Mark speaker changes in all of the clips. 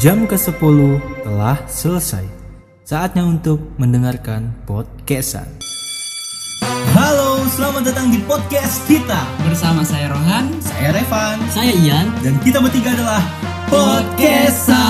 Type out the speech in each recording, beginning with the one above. Speaker 1: Jam ke-10 telah selesai. Saatnya untuk mendengarkan podcastan. Halo, selamat datang di podcast kita.
Speaker 2: Bersama saya Rohan,
Speaker 1: Saya Revan
Speaker 2: saya Ian,
Speaker 1: dan kita bertiga adalah
Speaker 2: podcastan.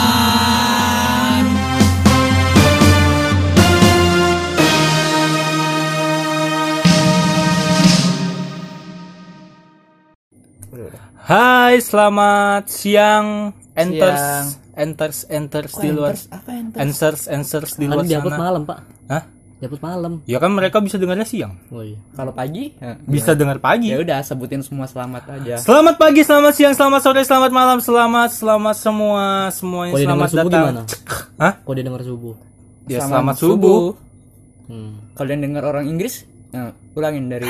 Speaker 1: Hai, selamat siang. Enters,
Speaker 2: Siang.
Speaker 1: enters, enters di luar.
Speaker 2: Apa yang
Speaker 1: Answers, answers di luar
Speaker 2: Kan diupload
Speaker 1: sana.
Speaker 2: malam, Pak.
Speaker 1: Hah?
Speaker 2: Diupload malam.
Speaker 1: Ya kan mereka bisa dengarnya siang.
Speaker 2: Oh iya.
Speaker 3: Kalau pagi
Speaker 1: Bisa dengar pagi.
Speaker 3: ya udah sebutin semua selamat aja.
Speaker 1: Selamat pagi, selamat siang, selamat sore, selamat malam, selamat, selamat semua, semuanya
Speaker 2: Kalau dia dengar
Speaker 1: selamat
Speaker 2: subuh
Speaker 1: datang.
Speaker 2: gimana?
Speaker 1: Hah?
Speaker 2: Kalau dia dengar subuh.
Speaker 1: Ya selamat, subuh.
Speaker 2: Hmm.
Speaker 3: Kalian dengar orang Inggris? Nah, ulangin dari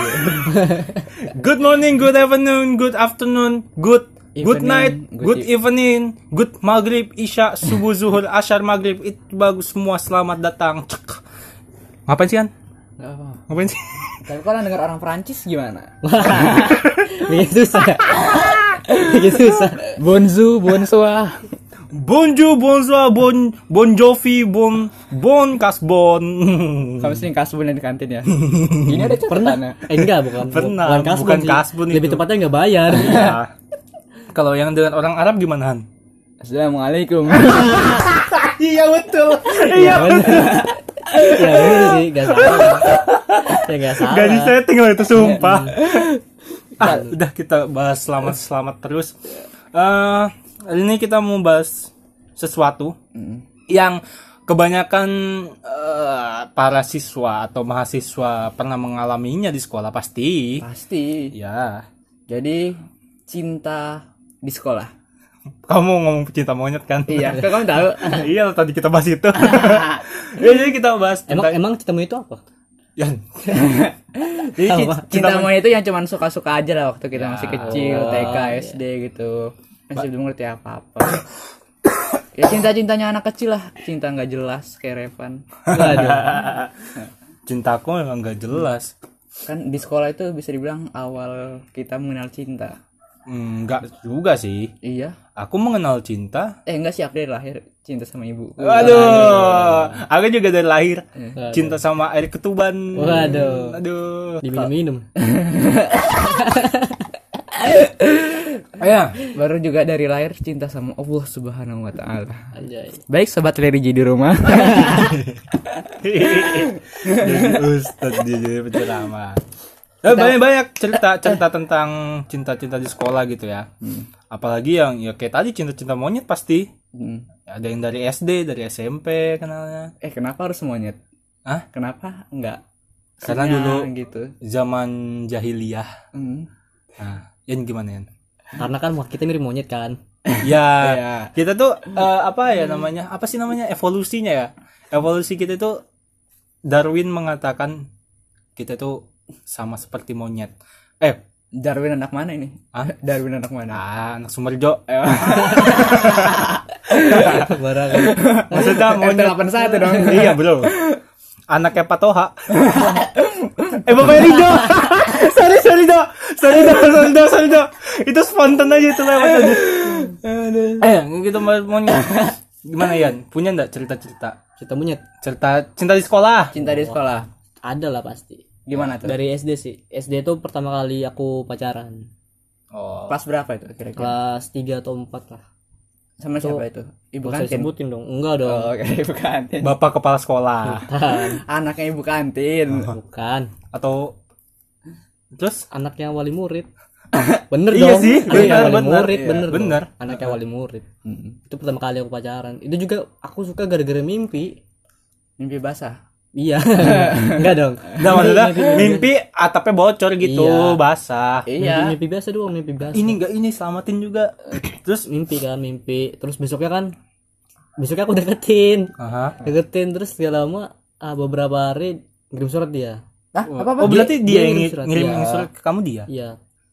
Speaker 1: Good morning, good afternoon, good afternoon, good good
Speaker 3: Evening,
Speaker 1: night, good,
Speaker 3: good
Speaker 1: evening, good maghrib, isya, subuh, zuhur, asyar, maghrib, itu bagus semua, selamat datang. Cek. Ngapain sih, An?
Speaker 3: Nggak apa-apa.
Speaker 1: Ngapain sih?
Speaker 3: Tapi kalau dengar orang Prancis gimana?
Speaker 2: Bikin Iya, susah. Bikin susah.
Speaker 3: Bonjour, bonsoir.
Speaker 1: Bonjour, bonsoir, bon, bon jovi, bon, bon kasbon.
Speaker 3: Kamu sering kasbon yang di kantin ya? Ini ada catatannya.
Speaker 2: Eh enggak, bukan.
Speaker 1: Pernah,
Speaker 2: Bukan kasbon.
Speaker 1: bukan
Speaker 2: sih.
Speaker 1: kasbon itu.
Speaker 2: Lebih tepatnya enggak bayar.
Speaker 1: Ya. Kalau yang dengan orang Arab gimana, Han?
Speaker 3: Assalamualaikum.
Speaker 1: Iya betul.
Speaker 2: Iya bener.
Speaker 3: Ya,
Speaker 2: Iya bener sih, enggak salah. Ya enggak salah.
Speaker 1: Gak di setting lah itu sumpah. ah, Iya, udah kita bahas selamat selamat terus. Eh, hari ini kita mau bahas sesuatu yang kebanyakan eh, para siswa atau mahasiswa pernah mengalaminya di sekolah pasti.
Speaker 3: Pasti.
Speaker 1: Ya.
Speaker 3: Jadi cinta di sekolah.
Speaker 1: Kamu ngomong cinta monyet kan?
Speaker 3: Iya, kok kamu tahu?
Speaker 1: iya tadi kita bahas itu. ya, jadi kita bahas
Speaker 2: Emang
Speaker 1: tentang
Speaker 2: emang citamu itu apa?
Speaker 1: Yan.
Speaker 3: Jadi
Speaker 2: Apa?
Speaker 3: cinta, cinta monyet itu yang cuman suka-suka aja lah waktu kita masih
Speaker 1: Ah.
Speaker 3: kecil,
Speaker 1: Oh,
Speaker 3: TK,
Speaker 1: iya.
Speaker 3: SD gitu. Masih belum ngerti apa-apa. ya cinta-cintanya anak kecil lah, cinta nggak jelas kayak Revan.
Speaker 2: Waduh.
Speaker 1: cintaku memang gak jelas.
Speaker 3: Kan di sekolah itu bisa dibilang awal kita mengenal cinta.
Speaker 1: Enggak Hmm, juga sih.
Speaker 3: Iya.
Speaker 1: Aku mengenal cinta.
Speaker 3: Eh enggak sih aku dari lahir cinta sama ibu.
Speaker 1: Waduh, aku juga dari lahir cinta sama air ketuban.
Speaker 2: Waduh.
Speaker 1: Aduh.
Speaker 2: Diminum-minum.
Speaker 1: Ya,
Speaker 3: Baru juga dari lahir cinta sama Allah Subhanahu wa taala.
Speaker 2: Anjay.
Speaker 3: Baik sobat religi di rumah.
Speaker 1: jadi ustad dia jadi penceramah. Eh, banyak-banyak cerita-cerita tentang cinta-cinta di sekolah gitu ya. Apalagi yang ya kayak tadi cinta-cinta monyet pasti.
Speaker 3: Hmm.
Speaker 1: Ada yang dari SD, dari SMP kenalnya.
Speaker 3: eh kenapa harus monyet?
Speaker 1: Hah?
Speaker 3: Kenapa enggak?
Speaker 1: Karena
Speaker 3: Sinyal
Speaker 1: dulu
Speaker 3: gitu.
Speaker 1: zaman jahiliyah.
Speaker 3: Hmm.
Speaker 1: Nah, Yan gimana Yan?
Speaker 2: Karena kan wah, kita mirip monyet kan.
Speaker 1: ya, kita tuh eh, apa ya namanya apa sih namanya evolusinya ya evolusi kita tuh Darwin mengatakan kita tuh sama seperti monyet eh
Speaker 3: Darwin anak mana ini?
Speaker 1: Hah?
Speaker 3: Darwin anak mana?
Speaker 1: ah, anak Sumerjo Eh,
Speaker 2: Barang.
Speaker 1: maksudnya monyet
Speaker 3: FT81 dong.
Speaker 1: iya bro anaknya Patoha eh bapaknya Rido sorry sorry do sorry do sorry do sorry do itu spontan aja itu lewat aja eh gitu monyet gimana Yan punya ndak cerita cerita
Speaker 2: Kita monyet
Speaker 1: cerita cinta di sekolah
Speaker 3: Cinta di sekolah.
Speaker 2: ada lah pasti.
Speaker 3: Gimana tuh?
Speaker 2: Dari SD sih. SD itu pertama kali aku pacaran.
Speaker 1: oh
Speaker 3: Kelas berapa itu kira-kira?
Speaker 2: Kelas 3 atau 4 lah.
Speaker 3: Sama siapa itu? Ibu
Speaker 2: Bukan saya
Speaker 3: kantin.
Speaker 2: sebutin dong.
Speaker 1: gitu.
Speaker 2: Enggak dong.
Speaker 1: iya.
Speaker 3: Oh, oke, ibu kantin.
Speaker 1: bapak kepala sekolah
Speaker 2: Hmm. Bukan.
Speaker 3: Anaknya ibu kantin.
Speaker 2: Bukan.
Speaker 1: atau terus
Speaker 2: Anaknya wali murid. Bener
Speaker 1: Iya
Speaker 2: dong.
Speaker 1: sih,
Speaker 2: Anaknya
Speaker 1: bener,
Speaker 2: wali
Speaker 1: bener.
Speaker 2: murid,
Speaker 1: Iya,
Speaker 2: bener. dong.
Speaker 1: bener.
Speaker 2: Anaknya wali murid. Itu pertama kali aku pacaran. Itu juga aku suka gara-gara mimpi.
Speaker 3: Mimpi basah.
Speaker 2: Iya. Enggak dong.
Speaker 1: nah maksudnya mimpi atapnya bocor gitu
Speaker 2: Iya.
Speaker 1: basah
Speaker 3: Iya.
Speaker 2: Mimpi, mimpi biasa doang, mimpi biasa.
Speaker 1: ini enggak ini selamatin juga terus
Speaker 2: mimpi kan mimpi terus besoknya kan besoknya aku deketin
Speaker 1: Aha.
Speaker 2: deketin terus gak lama ah, beberapa hari ngirim surat dia
Speaker 3: Hah,
Speaker 1: oh
Speaker 3: apa-apa?
Speaker 1: berarti
Speaker 2: Dia-
Speaker 1: dia,
Speaker 2: dia
Speaker 1: yang
Speaker 2: ngirim
Speaker 1: ngirim
Speaker 2: surat,
Speaker 1: ngirim
Speaker 2: iya.
Speaker 1: surat ke kamu dia
Speaker 2: iya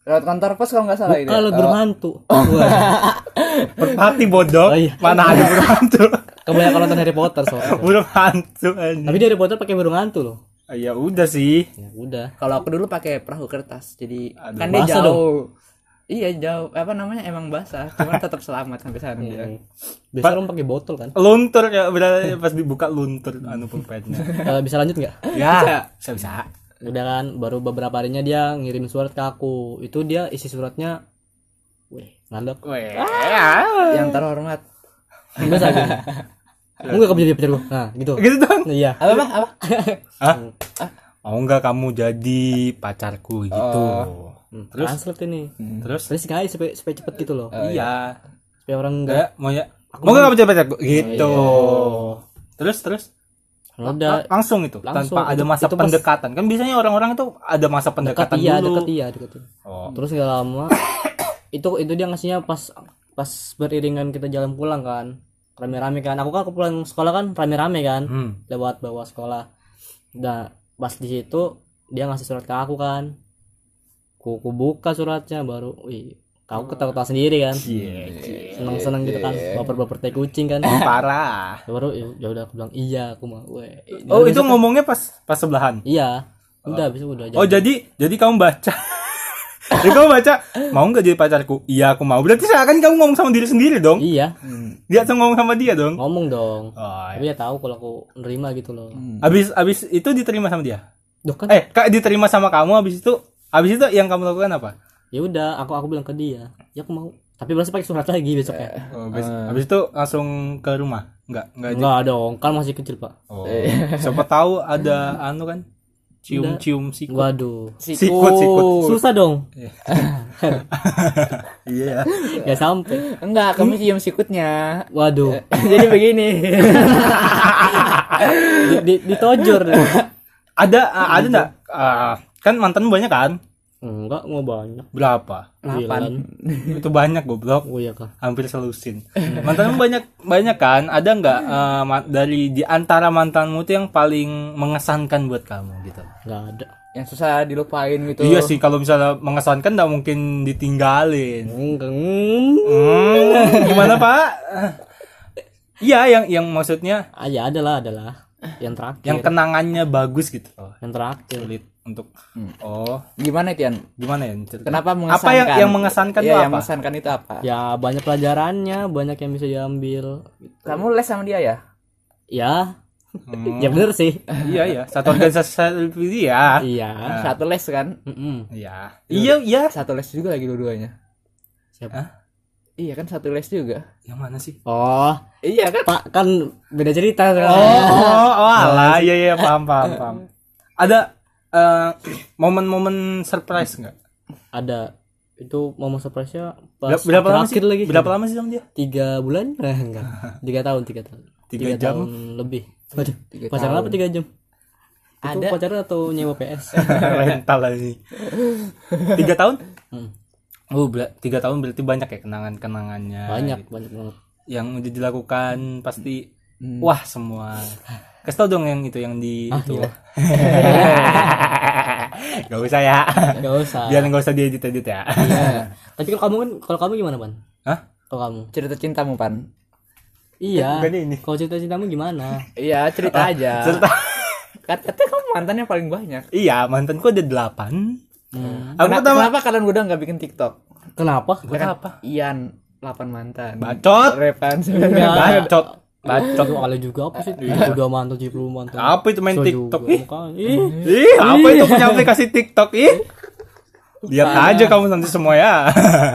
Speaker 3: Lewat kantor pos kalau nggak
Speaker 1: Iya.
Speaker 3: salah itu. ya? Oh.
Speaker 2: kalau
Speaker 1: Oh.
Speaker 2: berhantu Wah,
Speaker 1: berhati bodoh
Speaker 2: Oh, iya.
Speaker 1: mana ada burung hantu
Speaker 2: kebanyakan nonton Harry Potter soalnya
Speaker 1: burung hantu anjing.
Speaker 2: tapi dia Harry Potter pakai burung hantu loh
Speaker 1: ya udah sih
Speaker 2: ya udah
Speaker 3: Kalau aku dulu pakai perahu kertas. Jadi
Speaker 1: Aduh,
Speaker 3: kan dia
Speaker 2: basah
Speaker 3: jauh. Iya jauh apa namanya emang basah, cuman tetap selamat sampai ya. sana dia.
Speaker 2: Biasa orang pakai botol kan?
Speaker 1: Luntur ya, berarti pas dibuka luntur anu pulpennya.
Speaker 2: Eh, bisa lanjut nggak?
Speaker 1: ya, bisa bisa.
Speaker 2: Udah kan, baru beberapa harinya dia ngirim surat ke aku. Itu dia isi suratnya, weh, ngandok.
Speaker 1: Weh.
Speaker 3: Yang terhormat.
Speaker 2: Enggak saja. Enggak kamu jadi pacar gua. Nah, gitu.
Speaker 1: Gitu dong.
Speaker 2: Nah, iya.
Speaker 3: Apa apa? apa?
Speaker 2: Hmm.
Speaker 1: Hah? Mau nggak kamu jadi pacarku gitu?
Speaker 2: Oh. Terus Hmm. Translate Hmm, ini.
Speaker 1: Terus?
Speaker 2: Terus guys supaya supaya cepet gitu loh.
Speaker 1: iya.
Speaker 2: Supaya orang enggak Oh,
Speaker 1: Enggak, mau ya? Mau nggak kamu jadi pacarku? Gitu. Terus terus
Speaker 2: iya. Ya udah
Speaker 1: langsung itu
Speaker 2: Langsung.
Speaker 1: tanpa ada masa
Speaker 2: Itu- itu pas-
Speaker 1: pendekatan kan biasanya orang-orang itu ada masa
Speaker 2: dekat
Speaker 1: pendekatan
Speaker 2: iya,
Speaker 1: dulu
Speaker 2: dekat iya, dekat iya.
Speaker 1: oh
Speaker 2: Terus gak lama itu itu dia ngasihnya pas pas beriringan kita jalan pulang kan. Rame-rame kan. Aku kan aku pulang sekolah kan rame-rame kan.
Speaker 1: hmm.
Speaker 2: Lewat bawah sekolah. Nah, pas di situ dia ngasih surat ke aku kan. Ku, ku buka suratnya baru wih, kau ketawa-ketawa sendiri kan. Seneng-seneng gitu kan. Baper-baper teh kucing kan.
Speaker 1: parah
Speaker 2: baru ya ya udah aku bilang iya aku mau weh.
Speaker 1: oh itu ngomongnya pas pas sebelahan
Speaker 2: iya udah habis itu udah jadi
Speaker 1: oh jadi jadi kamu baca jadi kamu baca mau nggak jadi pacarku iya aku mau berarti seakan kamu ngomong sama diri sendiri dong
Speaker 2: iya
Speaker 3: Hmm.
Speaker 1: dia langsung ngomong sama dia dong
Speaker 2: ngomong dong
Speaker 1: oh,
Speaker 2: tapi dia tahu kalau aku nerima gitu loh
Speaker 1: abis abis itu diterima sama dia
Speaker 2: Duh, kan
Speaker 1: eh kak diterima sama kamu abis itu abis itu yang kamu lakukan apa
Speaker 2: ya udah aku aku bilang ke dia ya aku mau tapi berarti pakai surat lagi besoknya
Speaker 1: oh, abis, abis itu langsung ke rumah nggak nggak
Speaker 2: enggak dong kan masih kecil pak
Speaker 1: Oh. Siapa tahu ada anu kan cium-cium sikut.
Speaker 2: waduh
Speaker 1: Sikut, sikut.
Speaker 2: susah dong
Speaker 1: Iya.
Speaker 2: nggak sampai
Speaker 3: Enggak, kamu cium sikutnya.
Speaker 2: waduh
Speaker 1: Eh.
Speaker 3: Jadi begini.
Speaker 2: di, di, ditojor deh.
Speaker 1: Ada ah, ada enggak? kan mantan banyak kan?
Speaker 2: enggak mau banyak
Speaker 1: Berapa?
Speaker 2: delapan
Speaker 1: Itu banyak goblok.
Speaker 2: oh iya kah
Speaker 1: Hampir selusin. Mantanmu banyak banyak kan? Ada nggak eh, ma- dari di antara mantanmu tuh yang paling mengesankan buat kamu gitu?
Speaker 2: nggak ada
Speaker 3: yang susah dilupain gitu.
Speaker 1: Iya sih kalau misalnya mengesankan nggak mungkin ditinggalin.
Speaker 2: enggak
Speaker 1: Hmm, gimana Pak? Iya yang yang maksudnya
Speaker 2: ah ya adalah adalah yang terakhir
Speaker 1: yang kenangannya bagus gitu. loh.
Speaker 2: yang terakhir
Speaker 1: sulit untuk oh
Speaker 3: Gimana Tian?
Speaker 1: gimana ya cerita?
Speaker 3: Kenapa mengesankan?
Speaker 1: Apa yang- yang mengesankan itu
Speaker 3: Iya, yang
Speaker 1: apa? Iya.
Speaker 3: mengesankan itu apa?
Speaker 2: ya banyak pelajarannya banyak yang bisa diambil
Speaker 3: Kamu les sama dia ya?
Speaker 2: ya ya bener sih
Speaker 1: Hmm, iya iya satu organisasi satu divisi ya
Speaker 2: iya
Speaker 3: Satu les kan?
Speaker 2: Mm-mm.
Speaker 1: iya iya iya
Speaker 3: Satu les juga lagi dua-duanya.
Speaker 2: siapa
Speaker 3: Iya kan satu les juga.
Speaker 1: yang mana sih
Speaker 2: oh
Speaker 3: Iya kan?
Speaker 2: pak kan beda cerita
Speaker 1: oh oh alah iya iya paham paham paham ada eh, momen-momen surprise nggak
Speaker 2: ada itu momen surprise nya
Speaker 1: Ber-
Speaker 2: pas
Speaker 1: berapa lama sih
Speaker 2: terakhir lagi
Speaker 1: berapa lama sih sama dia
Speaker 2: tiga bulan nah, enggak tiga tahun tiga tahun
Speaker 1: Tiga jam?
Speaker 2: tahun lebih Waduh, pacaran apa tiga jam itu
Speaker 3: Ada.
Speaker 2: pacaran atau nyewa PS
Speaker 1: rental aja tiga tahun
Speaker 2: Hmm.
Speaker 1: oh ber- tiga tahun berarti banyak ya kenangan kenangannya
Speaker 2: banyak banyak banget
Speaker 1: yang udah dilakukan pasti
Speaker 3: Hmm.
Speaker 1: wah semua kasih tau dong yang itu yang di itu gak usah ya
Speaker 2: gak usah
Speaker 1: biar gak usah diedit edit ya
Speaker 2: tapi kalau kamu kan kalau kamu gimana ban
Speaker 1: Hah?
Speaker 2: kalau kamu
Speaker 3: Cerita cintamu Pan.
Speaker 2: iya
Speaker 1: Bukannya ini.
Speaker 2: kalau cerita cintamu gimana
Speaker 3: Iya, cerita aja.
Speaker 1: Cerita.
Speaker 3: Kat- Katanya kamu mantannya paling banyak.
Speaker 1: iya mantanku ada delapan aku
Speaker 3: Kena-
Speaker 1: pertama
Speaker 3: Kenapa kalian udah nggak bikin TikTok? Kan
Speaker 2: kenapa
Speaker 1: Buat apa
Speaker 3: Ian 8 mantan.
Speaker 1: bacot
Speaker 3: Repan
Speaker 1: bacot bacot
Speaker 2: Dua kali juga apa sih? Tiga mantan, tujuh puluh mantan.
Speaker 1: apa itu main
Speaker 2: Soal
Speaker 1: tiktok
Speaker 2: juga,
Speaker 1: ih
Speaker 2: makanya. Ih,
Speaker 1: ih apa itu punya aplikasi tiktok ih lihat aja kamu nanti semua ya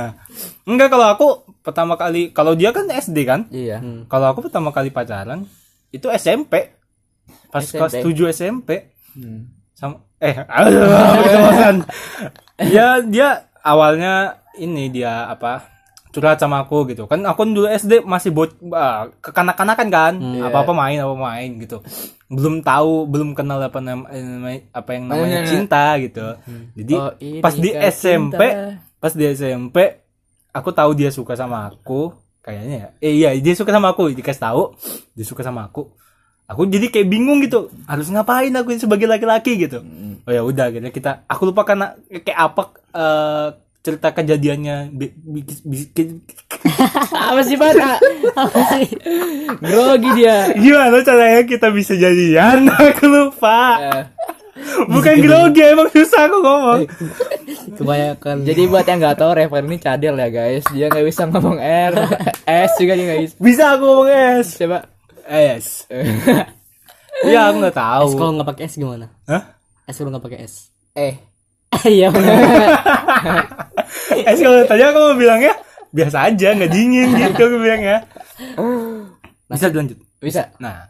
Speaker 1: enggak kalau aku pertama kali kalau dia kan SD kan
Speaker 3: Iya.
Speaker 2: Hmm.
Speaker 1: Kalau aku pertama kali pacaran itu SMP. Pas
Speaker 3: SMP.
Speaker 1: kelas 7 SMP.
Speaker 3: Hmm.
Speaker 1: Sama eh aduh, aku kebosan. Dia dia awalnya ini dia apa? curhat sama aku gitu kan aku dulu SD masih bot ah, kekanak-kanakan kan apa apa main apa main gitu belum tahu belum kenal apa nam- eh, namanya apa yang namanya
Speaker 3: Namanya-
Speaker 1: cinta gitu jadi
Speaker 3: Oh, ini
Speaker 1: pas di
Speaker 3: kan
Speaker 1: SMP
Speaker 3: cinta.
Speaker 1: pas di SMP aku tahu dia suka sama aku kayaknya ya eh iya dia suka sama aku dikasih tahu dia suka sama aku aku jadi kayak bingung gitu harus ngapain aku sebagai laki-laki gitu oh ya udah akhirnya kita aku lupa karena kayak apa eh, cerita kejadiannya bi- bi- bi-
Speaker 3: Apa sih, Pan? Ah,
Speaker 2: apa sih?
Speaker 3: Grogi dia.
Speaker 1: gimana caranya kita bisa jadian aku lupa
Speaker 3: Eh,
Speaker 1: Bukan grogi emang susah aku ngomong.
Speaker 2: kebanyakan
Speaker 3: Jadi buat yang nggak tahu Revan ini cadel ya guys. Dia nggak bisa ngomong R, S juga dia nggak bisa.
Speaker 1: Bisa aku ngomong eh, es.
Speaker 3: Coba.
Speaker 1: Es. Ya aku nggak tahu.
Speaker 2: es kalau nggak pakai es gimana
Speaker 1: Hah?
Speaker 2: es kalau nggak pakai es
Speaker 3: Eh,
Speaker 2: iya benar
Speaker 1: Es kalau tanya aku mau bilangnya biasa aja nggak dingin gitu aku bilangnya.
Speaker 2: Nah,
Speaker 1: Bisa dilanjut.
Speaker 3: bisa.
Speaker 1: Nah,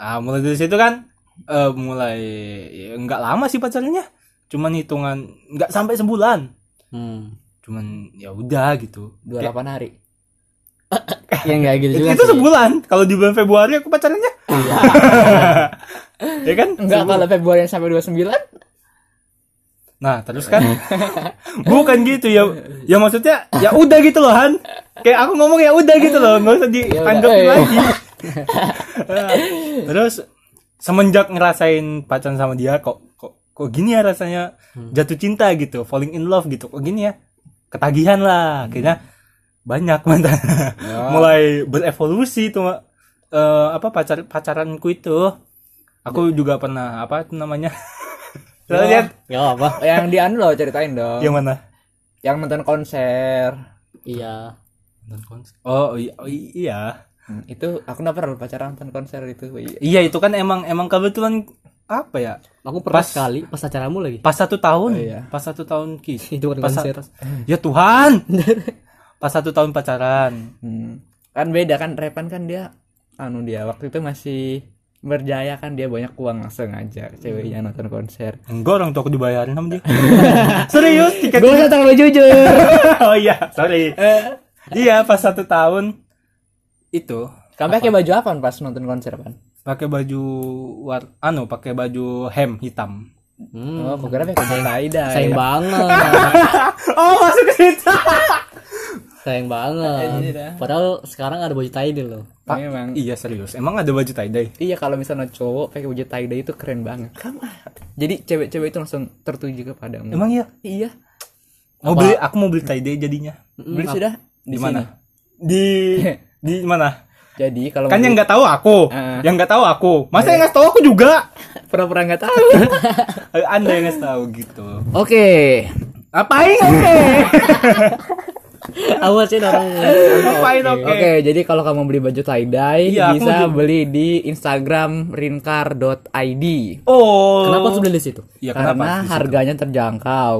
Speaker 1: ah, mulai dari situ kan eh, mulai ya, nggak lama sih pacarnya, cuman hitungan nggak sampai sebulan,
Speaker 2: hmm.
Speaker 1: cuman ya udah gitu.
Speaker 3: 28 hari.
Speaker 2: ya nggak
Speaker 1: Itu,
Speaker 2: gitu juga
Speaker 1: itu
Speaker 2: sih Iya.
Speaker 1: sebulan. Kalau di bulan Februari aku pacarnya. ya kan?
Speaker 3: Enggak kalau Februari sampai 29
Speaker 1: Nah, terus kan bukan gitu ya. Ya maksudnya ya udah gitu loh, Han. Kayak aku ngomong ya udah gitu loh, nggak usah ditanggapin
Speaker 3: udah, eh.
Speaker 1: lagi. Nah, terus semenjak ngerasain pacaran sama dia kok kok kok gini ya rasanya jatuh cinta gitu, falling in love gitu. Kok gini ya? Ketagihan lah, akhirnya banyak mantan. Ya. Mulai berevolusi tuh Mak. Eh, apa pacar pacaranku itu. Aku juga pernah apa itu namanya? Lihat
Speaker 2: nggak apa
Speaker 3: yang di anu loh ceritain dong.
Speaker 1: yang mana?
Speaker 3: Yang nonton konser.
Speaker 2: iya
Speaker 1: Nonton konser. Oh iya, oh, iya.
Speaker 3: Hmm, Itu aku nggak pernah pacaran nonton konser itu. Iya.
Speaker 1: Iya itu kan emang emang kebetulan apa ya?
Speaker 2: aku pernah
Speaker 1: Pas-
Speaker 2: sekali pas acaramu lagi
Speaker 1: Pas satu tahun,
Speaker 3: Oh, iya.
Speaker 1: pas satu tahun kis.
Speaker 2: Itu bukan
Speaker 1: pas
Speaker 2: konser.
Speaker 1: pas- ya Tuhan. pas satu tahun pacaran.
Speaker 3: Hmm. Kan beda kan Repan kan dia anu dia waktu itu masih berjaya kan dia banyak uang langsung aja ceweknya nonton konser.
Speaker 1: Enggak orang tua aku dibayarin sama dia. Serius tiket.
Speaker 3: Gue usah terlalu jujur.
Speaker 1: oh iya, sorry. iya pas satu tahun itu
Speaker 3: Kamu pakai baju apa pas nonton konser kan?
Speaker 1: pakai baju war anu pakai baju hem hitam.
Speaker 2: hmm.
Speaker 3: Oh, aku kira pakai baju ya. tie-dye.
Speaker 1: Iya.
Speaker 2: sayang banget
Speaker 1: Oh masuk ke situ.
Speaker 2: sayang banget padahal sekarang ada baju tie dye loh
Speaker 3: Memang.
Speaker 1: iya serius. Emang ada baju tie dye?
Speaker 3: Iya kalau misalnya cowok pakai baju tie dye itu keren banget. Kamu ah. Jadi cewek-cewek itu langsung tertuju kepadamu.
Speaker 1: Emang iya.
Speaker 3: Iya.
Speaker 1: Mau beli, aku mau beli tie dye jadinya.
Speaker 3: Beli sudah
Speaker 1: di
Speaker 3: di
Speaker 1: mana
Speaker 3: sini.
Speaker 1: di di mana
Speaker 3: Jadi kalau
Speaker 1: kan
Speaker 3: mau
Speaker 1: yang nggak tahu Ah. Iya. aku
Speaker 3: Eh.
Speaker 1: yang nggak tahu aku masa yang nggak tahu aku juga
Speaker 3: beli- pura-pura nggak tahu.
Speaker 1: Eh, anda yang nggak tahu gitu
Speaker 3: Oke.
Speaker 1: apain oke
Speaker 2: awasin orang
Speaker 1: apain
Speaker 3: Oke,
Speaker 1: oke
Speaker 3: jadi kalau kamu beli baju tie dye
Speaker 1: Iya, aku
Speaker 3: bisa
Speaker 1: mau
Speaker 3: beli di Instagram rinkar.id.
Speaker 1: oh
Speaker 2: kenapa harus beli di situ
Speaker 1: ya kenapa
Speaker 3: karena harganya terjangkau.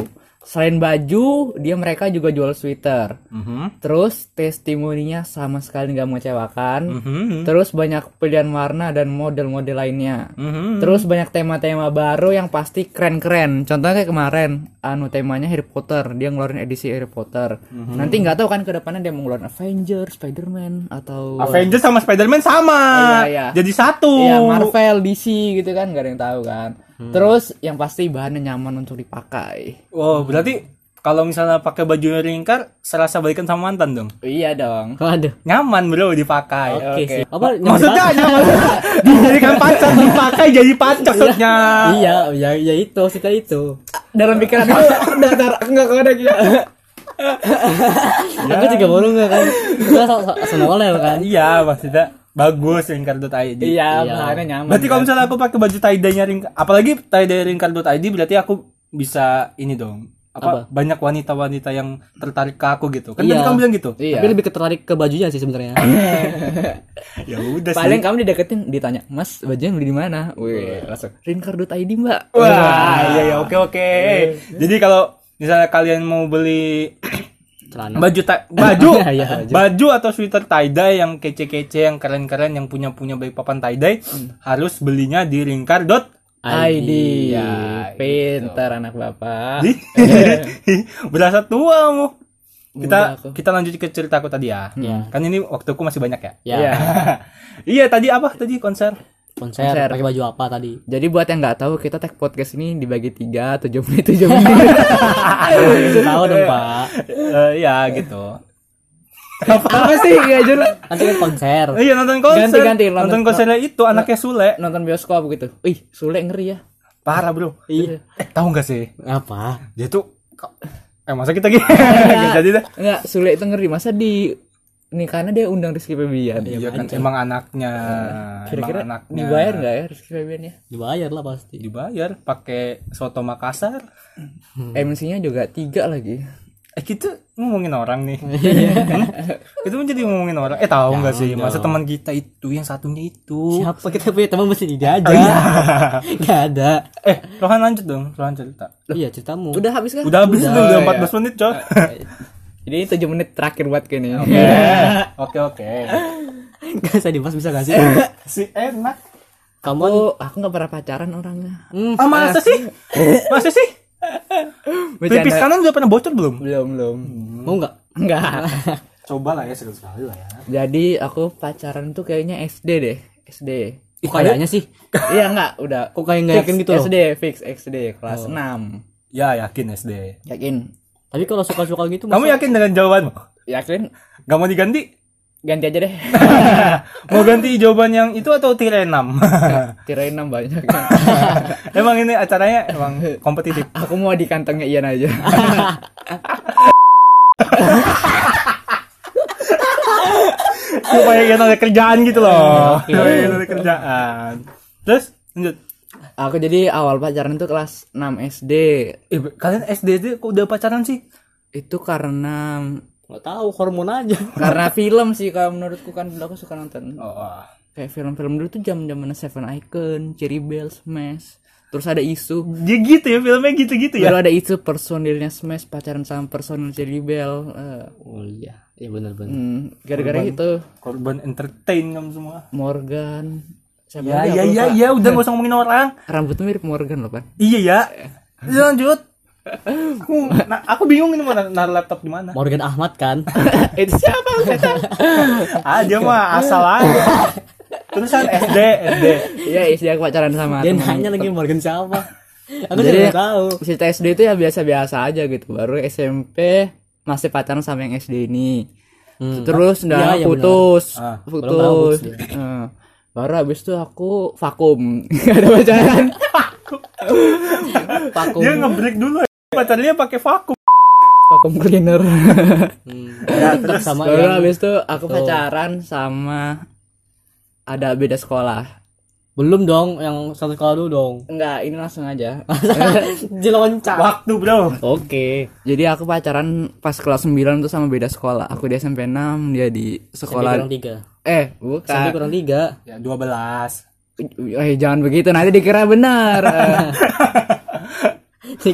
Speaker 3: Selain baju, dia mereka juga jual sweater.
Speaker 1: Mhm,
Speaker 3: Terus testimoninya sama sekali nggak mengecewakan.
Speaker 1: mhm,
Speaker 3: Terus banyak pilihan warna dan model-model lainnya.
Speaker 1: mhm.
Speaker 3: Terus banyak tema-tema baru yang pasti keren-keren. Contohnya kayak kemarin, anu temanya Harry Potter, dia ngeluarin edisi Harry Potter. Nanti nggak tahu kan ke depannya dia mau ngeluarin Avengers, Spider-Man atau
Speaker 1: Avengers sama Spider-Man sama
Speaker 3: Iya, iya.
Speaker 1: jadi satu
Speaker 3: Iya, Marvel, DC gitu kan, nggak ada yang tahu kan. Terus yang pasti bahannya nyaman untuk dipakai.
Speaker 1: oh berarti kalau misalnya pakai baju ringkar serasa balikan sama mantan dong
Speaker 3: Iya dong.
Speaker 2: waduh
Speaker 1: nyaman bro dipakai
Speaker 2: oke sih apa
Speaker 1: Ya, maksudnya nyaman dijadikan pacar dipakai jadi pacar maksudnya
Speaker 2: iya ya, ya itu kita itu
Speaker 3: Dalam pikiran aku datar enggak ada gitu.
Speaker 1: Ya.
Speaker 2: aku juga baru nggak kan kita sama oleh kan
Speaker 1: Iya maksudnya bagus ringkar.id
Speaker 3: Iya,
Speaker 2: Iya.
Speaker 3: bahannya nyaman.
Speaker 1: Berarti kalau
Speaker 3: kan.
Speaker 1: misalnya aku pakai baju tie-dye-nya ringkar Apalagi tie-dye ringkar.id berarti aku bisa ini dong apa, banyak wanita-wanita yang tertarik ke aku gitu kan tadi
Speaker 2: Iya.
Speaker 1: kamu bilang gitu
Speaker 3: Iya.
Speaker 2: tapi lebih tertarik ke bajunya sih sebenarnya
Speaker 1: ya udah sih
Speaker 3: Paling kamu dideketin ditanya, "Mas, bajunya beli di mana?" Wih, langsung rinkar.id, Mbak.
Speaker 1: wah iya ya oke oke jadi kalau misalnya kalian mau beli
Speaker 2: celana
Speaker 1: baju ta- baju
Speaker 2: Iya,
Speaker 1: baju atau sweater tie dye yang kece-kece yang keren-keren yang punya punya baik papan tie dye harus belinya di ringkar
Speaker 3: ID.
Speaker 1: iya,
Speaker 2: Iya.
Speaker 3: Pintar
Speaker 1: gitu.
Speaker 3: anak bapak.
Speaker 1: berasa tua mu
Speaker 3: Muda
Speaker 1: kita
Speaker 3: aku.
Speaker 1: kita lanjut ke ceritaku tadi ya
Speaker 2: Iya.
Speaker 1: kan ini waktuku masih banyak ya
Speaker 2: ya
Speaker 3: Iya.
Speaker 1: iya tadi apa tadi konser
Speaker 2: konser
Speaker 3: Konser.
Speaker 2: pakai baju apa tadi
Speaker 3: Jadi buat yang nggak tahu, kita tag podcast ini dibagi tiga, tujuh menit, tujuh menit.
Speaker 2: tahu dong pak
Speaker 1: Eh, iya gitu
Speaker 3: Apa sih? Gak jelas.
Speaker 2: nanti kan konser
Speaker 1: iya nonton konser
Speaker 3: Ganti-ganti,
Speaker 1: nonton,
Speaker 3: nonton-
Speaker 1: konsernya itu anaknya Sule
Speaker 3: Nonton bioskop gitu. Ih, Sule ngeri ya.
Speaker 1: parah bro
Speaker 2: iya
Speaker 1: eh tahu nggak sih
Speaker 2: apa
Speaker 1: dia tuh eh masa kita gini Nggak jadi deh
Speaker 3: Enggak, Sule itu ngeri. Masa di Nih karena dia undang Rizky Febian.
Speaker 1: Iya kan emang anaknya. emang
Speaker 3: Kira-kira
Speaker 1: anaknya.
Speaker 3: dibayar nggak ya Rizky Febian ya?
Speaker 2: dibayar lah pasti
Speaker 1: Dibayar pakai soto Makassar. Hmm.
Speaker 3: MC-nya juga tiga lagi.
Speaker 1: Eh kita ngomongin orang nih. itu menjadi ngomongin orang. Eh Iya. tahu nggak sih? Masa teman kita itu yang satunya itu.
Speaker 2: siapa Iya. kita punya teman mesti dijajah nggak ada
Speaker 1: Eh, Rohan lanjut dong, Rohan cerita.
Speaker 2: iya ceritamu
Speaker 3: Udah habis kan?
Speaker 1: Udah iya. habis belum? Udah
Speaker 3: Oh,
Speaker 1: 14 menit, coy.
Speaker 3: Jadi ini 7 menit terakhir buat ya. kayaknya.
Speaker 1: Iya, Oke, oke.
Speaker 2: nggak usah dibahas bisa gak sih
Speaker 1: Si enak.
Speaker 2: kamu kan-
Speaker 3: Aku aku nggak pernah pacaran orangnya.
Speaker 2: Hmm,
Speaker 1: Ah, masa sih? Masa sih? Pipis
Speaker 3: Bercanda.
Speaker 1: kanan udah pernah bocor belum?
Speaker 3: kan- Belum belum.
Speaker 2: mau nggak
Speaker 3: Enggak.
Speaker 1: Coba lah ya sekali-sekali lah ya.
Speaker 3: Jadi aku pacaran tuh kayaknya SD deh. SD.
Speaker 2: kok kayaknya sih
Speaker 3: Iya enggak, udah.
Speaker 2: kok kayak nggak
Speaker 3: Fix
Speaker 2: yakin gitu loh
Speaker 3: SD, fix SD kelas 6.
Speaker 1: Ya yakin SD.
Speaker 3: Oh. Yakin?
Speaker 2: tapi kalau suka suka gitu
Speaker 1: Kamu
Speaker 2: masa-
Speaker 1: yakin dengan jawabanmu?
Speaker 3: Yakin?
Speaker 1: Gak mau diganti?
Speaker 3: Ganti aja deh.
Speaker 1: mau ganti jawaban yang itu atau tirai 6?
Speaker 3: Kirain 6 banyak.
Speaker 1: emang ini acaranya emang kompetitif.
Speaker 3: aku mau di kantongnya Ian aja.
Speaker 1: Supaya kita ada kerjaan gitu loh.
Speaker 2: Oke.
Speaker 1: Supaya kita ada kerjaan. Terus lanjut.
Speaker 3: aku jadi awal pacaran tuh kelas 6 SD.
Speaker 1: Eh, kalian SD itu kok udah pacaran sih?
Speaker 3: Itu karena
Speaker 2: nggak tahu hormon aja
Speaker 3: karena film sih kalau menurutku kan dulu aku suka nonton
Speaker 1: Oh.
Speaker 3: kayak film-film dulu tuh zaman-zaman Seven Icon, Cherry Bell, Smash. Terus ada isu
Speaker 1: Ya gitu ya filmnya gitu-gitu ya.
Speaker 3: Baru ada isu personilnya Smash pacaran sama personil Cherry Bell. Eh,
Speaker 2: oh iya iya benar benar
Speaker 3: hmm, gara-gara itu
Speaker 1: Korban entertain kamu semua.
Speaker 3: Morgan. Siapa
Speaker 1: Ya
Speaker 3: lagi
Speaker 1: ya
Speaker 3: aku
Speaker 1: ya
Speaker 3: lupa.
Speaker 1: ya udah gak usah ngomongin orang.
Speaker 3: Rambutnya mirip Morgan loh, Pan.
Speaker 1: Iya ya. Lanjut. Aku, nah, aku bingung ini mau nar- naruh laptop di mana.
Speaker 2: Morgan Ahmad kan
Speaker 3: itu siapa
Speaker 1: Ah dia mah asal aja. Terusan SD SD.
Speaker 3: Iya, istri aku pacaran sama
Speaker 2: dia
Speaker 3: temen.
Speaker 2: nanya lagi Morgan siapa aku
Speaker 3: Jadi-
Speaker 2: tidak tahu
Speaker 3: Cerita SD itu ya biasa-biasa aja gitu. Baru SMP masih pacaran sama yang SD ini.
Speaker 2: Hmm.
Speaker 3: Terus
Speaker 2: Iya,
Speaker 3: udah
Speaker 2: iya,
Speaker 1: benar.
Speaker 3: putus,
Speaker 1: Ah,
Speaker 2: baru
Speaker 3: putus. Eh, Baru habis itu aku vakum, gak ada pacaran.
Speaker 2: paku
Speaker 1: Dia ngebreak dulu. Pacarnya pakai vakum.
Speaker 3: vakum cleaner.
Speaker 2: hmm.
Speaker 1: Nah,
Speaker 2: tetap sama
Speaker 3: Baru
Speaker 2: yang
Speaker 3: habis itu aku pacaran sama ada beda sekolah.
Speaker 2: belum dong yang satu sekolah dulu dong
Speaker 3: Enggak, ini langsung aja.
Speaker 2: jelonca
Speaker 1: Waktu bro.
Speaker 2: oke
Speaker 3: Jadi aku pacaran pas kelas 9 tuh sama beda sekolah. Aku di SMP 6, dia di
Speaker 2: sekolah
Speaker 3: sekolah
Speaker 2: kurang tiga
Speaker 3: eh
Speaker 2: sampai
Speaker 3: bukan.
Speaker 2: kurang tiga
Speaker 1: Ya 12
Speaker 3: Eh jangan begitu nanti dikira benar.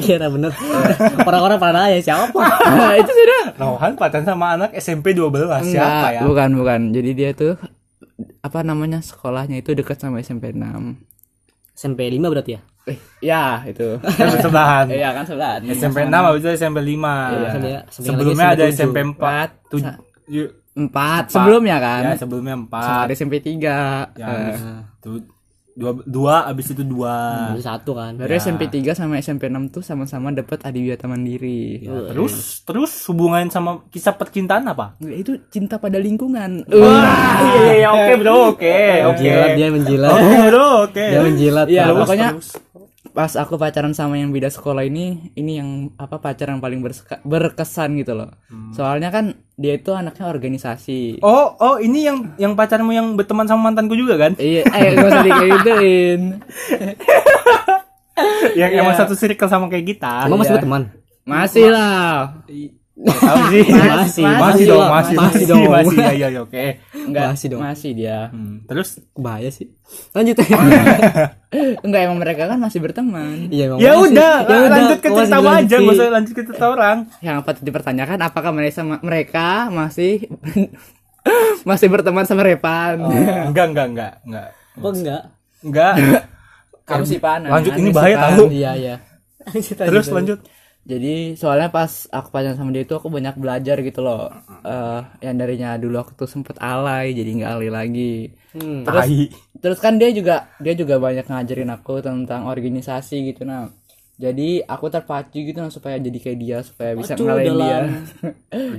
Speaker 2: kira bener orang-orang pada nanya siapa
Speaker 3: Eh, itu sudah.
Speaker 1: Rohan pacaran sama anak SMP 12 siapa
Speaker 3: Enggak,
Speaker 1: ya?
Speaker 3: Bukan, bukan. Jadi dia tuh apa namanya sekolahnya itu dekat sama SMP 6.
Speaker 2: SMP 5 berarti ya
Speaker 3: Eh, ya itu.
Speaker 1: Yang sebelahan.
Speaker 3: Iya kan sebelah.
Speaker 1: SMP 6 habis itu SMP 5.
Speaker 2: SMP ya. SMP
Speaker 1: Sebelumnya
Speaker 2: lagi
Speaker 1: ada
Speaker 2: SMP
Speaker 1: SMP 4,
Speaker 3: Empat,
Speaker 1: 7.
Speaker 3: Empat sebelumnya kan.
Speaker 1: Ya, sebelumnya 4.
Speaker 3: Ada SMP 3.
Speaker 1: Ya, habis itu dua, dua habis itu dua.
Speaker 2: baru satu kan
Speaker 3: Baru
Speaker 1: Ya.
Speaker 3: SMP 3 sama SMP 6 tuh sama-sama dapat adiwiyata mandiri.
Speaker 1: Ya, terus terus hubungan sama kisah percintaan apa?
Speaker 3: Enggak, Itu cinta pada lingkungan.
Speaker 1: Ah, iya iya, iya, oke bro, oke, oke.
Speaker 2: menjilat dia menjilat
Speaker 1: Oke bro, oke.
Speaker 2: dia menjilat
Speaker 3: Iya,
Speaker 2: Pak.
Speaker 3: pokoknya pas aku pacaran sama yang beda sekolah ini, ini yang apa pacaran paling berseka- berkesan gitu loh. Soalnya kan dia itu anaknya organisasi.
Speaker 1: Hmm. Oh, oh ini yang yang pacarmu yang berteman sama mantanku juga kan?
Speaker 3: Iya, eh gak usah digituin.
Speaker 1: yang emang
Speaker 3: Iya.
Speaker 1: satu circle sama kayak kita.
Speaker 2: emang masih
Speaker 3: Iya.
Speaker 2: berteman
Speaker 3: Masih lah.
Speaker 1: Tahu sih.
Speaker 2: Masih,
Speaker 1: iya. masih
Speaker 2: masih
Speaker 1: dong,
Speaker 2: lah,
Speaker 1: masih,
Speaker 2: masih
Speaker 1: masih,
Speaker 2: dong.
Speaker 1: masih, iya, iya, iya, oke.
Speaker 3: Enggak,
Speaker 2: Masih dong.
Speaker 3: Masih dia.
Speaker 1: Hmm, terus
Speaker 2: bahaya sih lanjut
Speaker 3: Enggak emang mereka kan masih berteman.
Speaker 2: iya emang
Speaker 1: ya
Speaker 2: masih.
Speaker 1: udah,
Speaker 2: Ya
Speaker 1: lanjut
Speaker 2: udah,
Speaker 1: ke
Speaker 2: masih
Speaker 1: cerita
Speaker 2: lanjut
Speaker 1: aja,
Speaker 2: sih.
Speaker 1: nggak usah lanjut ke cerita orang.
Speaker 3: Yang patut dipertanyakan apakah mereka mereka masih masih berteman sama Repan.
Speaker 1: enggak, enggak, enggak, enggak.
Speaker 2: apa Oh, enggak
Speaker 1: Enggak.
Speaker 3: Kamu sih panas.
Speaker 1: Lanjut ini
Speaker 3: Kamu
Speaker 1: bahaya
Speaker 3: sih
Speaker 1: tahu.
Speaker 2: iya iya Lanjut aja
Speaker 1: Terus
Speaker 2: dulu.
Speaker 1: lanjut.
Speaker 3: Jadi soalnya pas aku pacaran sama dia itu aku banyak belajar gitu loh.
Speaker 1: Uh-uh.
Speaker 3: Eh, yang darinya dulu aku tuh sempet alay jadi nggak alay lagi.
Speaker 2: Hmm.
Speaker 1: Tai.
Speaker 3: Terus kan dia juga dia juga banyak ngajarin aku tentang organisasi gitu nah. Jadi aku terpacu gitu nah supaya jadi kayak dia supaya bisa
Speaker 2: Terpacu
Speaker 3: ngalahin dia.
Speaker 2: dalam-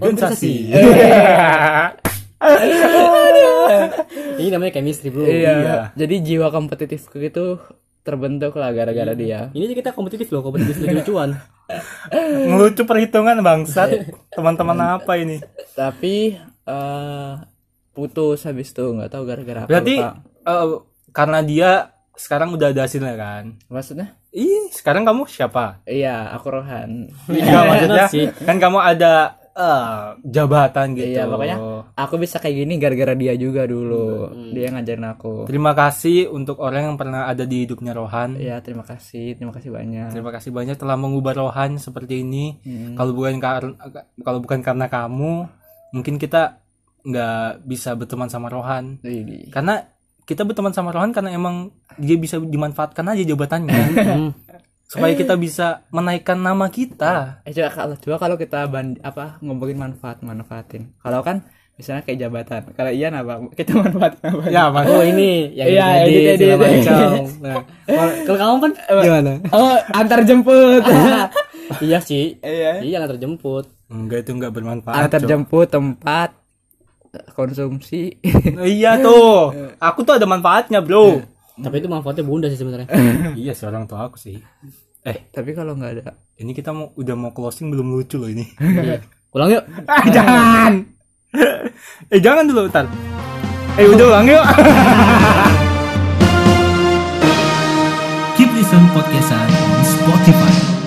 Speaker 1: Organisasi.
Speaker 2: ini namanya chemistry bro
Speaker 3: iya.
Speaker 1: Iya.
Speaker 3: Jadi jiwa kompetitifku itu terbentuk lah gara-gara
Speaker 1: Iya.
Speaker 3: dia.
Speaker 2: ini aja kita kompetitif loh kompetitif lucuan
Speaker 1: Iya. Ngelucu perhitungan bangsat. Teman-teman apa ini?
Speaker 3: Tapi eh putus habis itu nggak tahu gara-gara apa
Speaker 1: Berarti
Speaker 3: lupa.
Speaker 1: eh, karena dia sekarang udah ada hasilnya kan.
Speaker 3: maksudnya
Speaker 1: Ih, sekarang kamu siapa?
Speaker 3: iya aku Rohan
Speaker 1: Enggak maksudnya
Speaker 2: bener sih.
Speaker 1: kan kamu ada eh, jabatan gitu.
Speaker 3: Iya makanya aku bisa kayak gini gara-gara dia juga dulu
Speaker 1: Hmm.
Speaker 3: dia ngajarin aku
Speaker 1: Terima kasih untuk orang yang pernah ada di hidupnya Rohan.
Speaker 3: Iya terima kasih terima kasih banyak Hmm.
Speaker 1: Terima kasih banyak telah mengubah Rohan seperti ini. Kalau bukan kar- kalau bukan karena kamu, mungkin kita nggak bisa berteman sama Rohan.
Speaker 3: Widih.
Speaker 1: Karena kita berteman sama Rohan karena emang dia bisa dimanfaatkan aja jabatannya
Speaker 2: Hmm.
Speaker 1: supaya kita bisa menaikkan nama kita.
Speaker 3: Eh, coba kalau coba kalau kita ban- apa ngomongin manfaat manfaatin. Kalau kan misalnya kayak jabatan. Kalau Ian apa? Kita manfaatin apa?
Speaker 1: Ya, Mas.
Speaker 2: Oh ini yang
Speaker 3: Iya,
Speaker 2: edit-edit segala
Speaker 3: edit-edit.
Speaker 2: macam. Nah, kalau- kalau kamu kan gimana?
Speaker 3: Oh, antar jemput.
Speaker 2: iya sih.
Speaker 3: Iya.
Speaker 2: Iya nggak terjemput.
Speaker 1: Enggak itu enggak bermanfaat.
Speaker 3: antar
Speaker 1: Cok.
Speaker 3: jemput tempat eh, konsumsi.
Speaker 1: Iya tuh. Aku tuh ada manfaatnya, Bro.
Speaker 2: Tapi itu manfaatnya bunda sih sebenarnya.
Speaker 1: iya, seorang tua aku sih. Eh,
Speaker 3: Tapi kalau nggak ada
Speaker 1: ini kita mau udah mau closing belum lucu loh ini.
Speaker 2: Iya. Ulang yuk.
Speaker 1: Ah, jangan. eh, jangan dulu, bentar. Eh, udah ulang yuk.
Speaker 4: Keep Listen Podcastan on Spotify.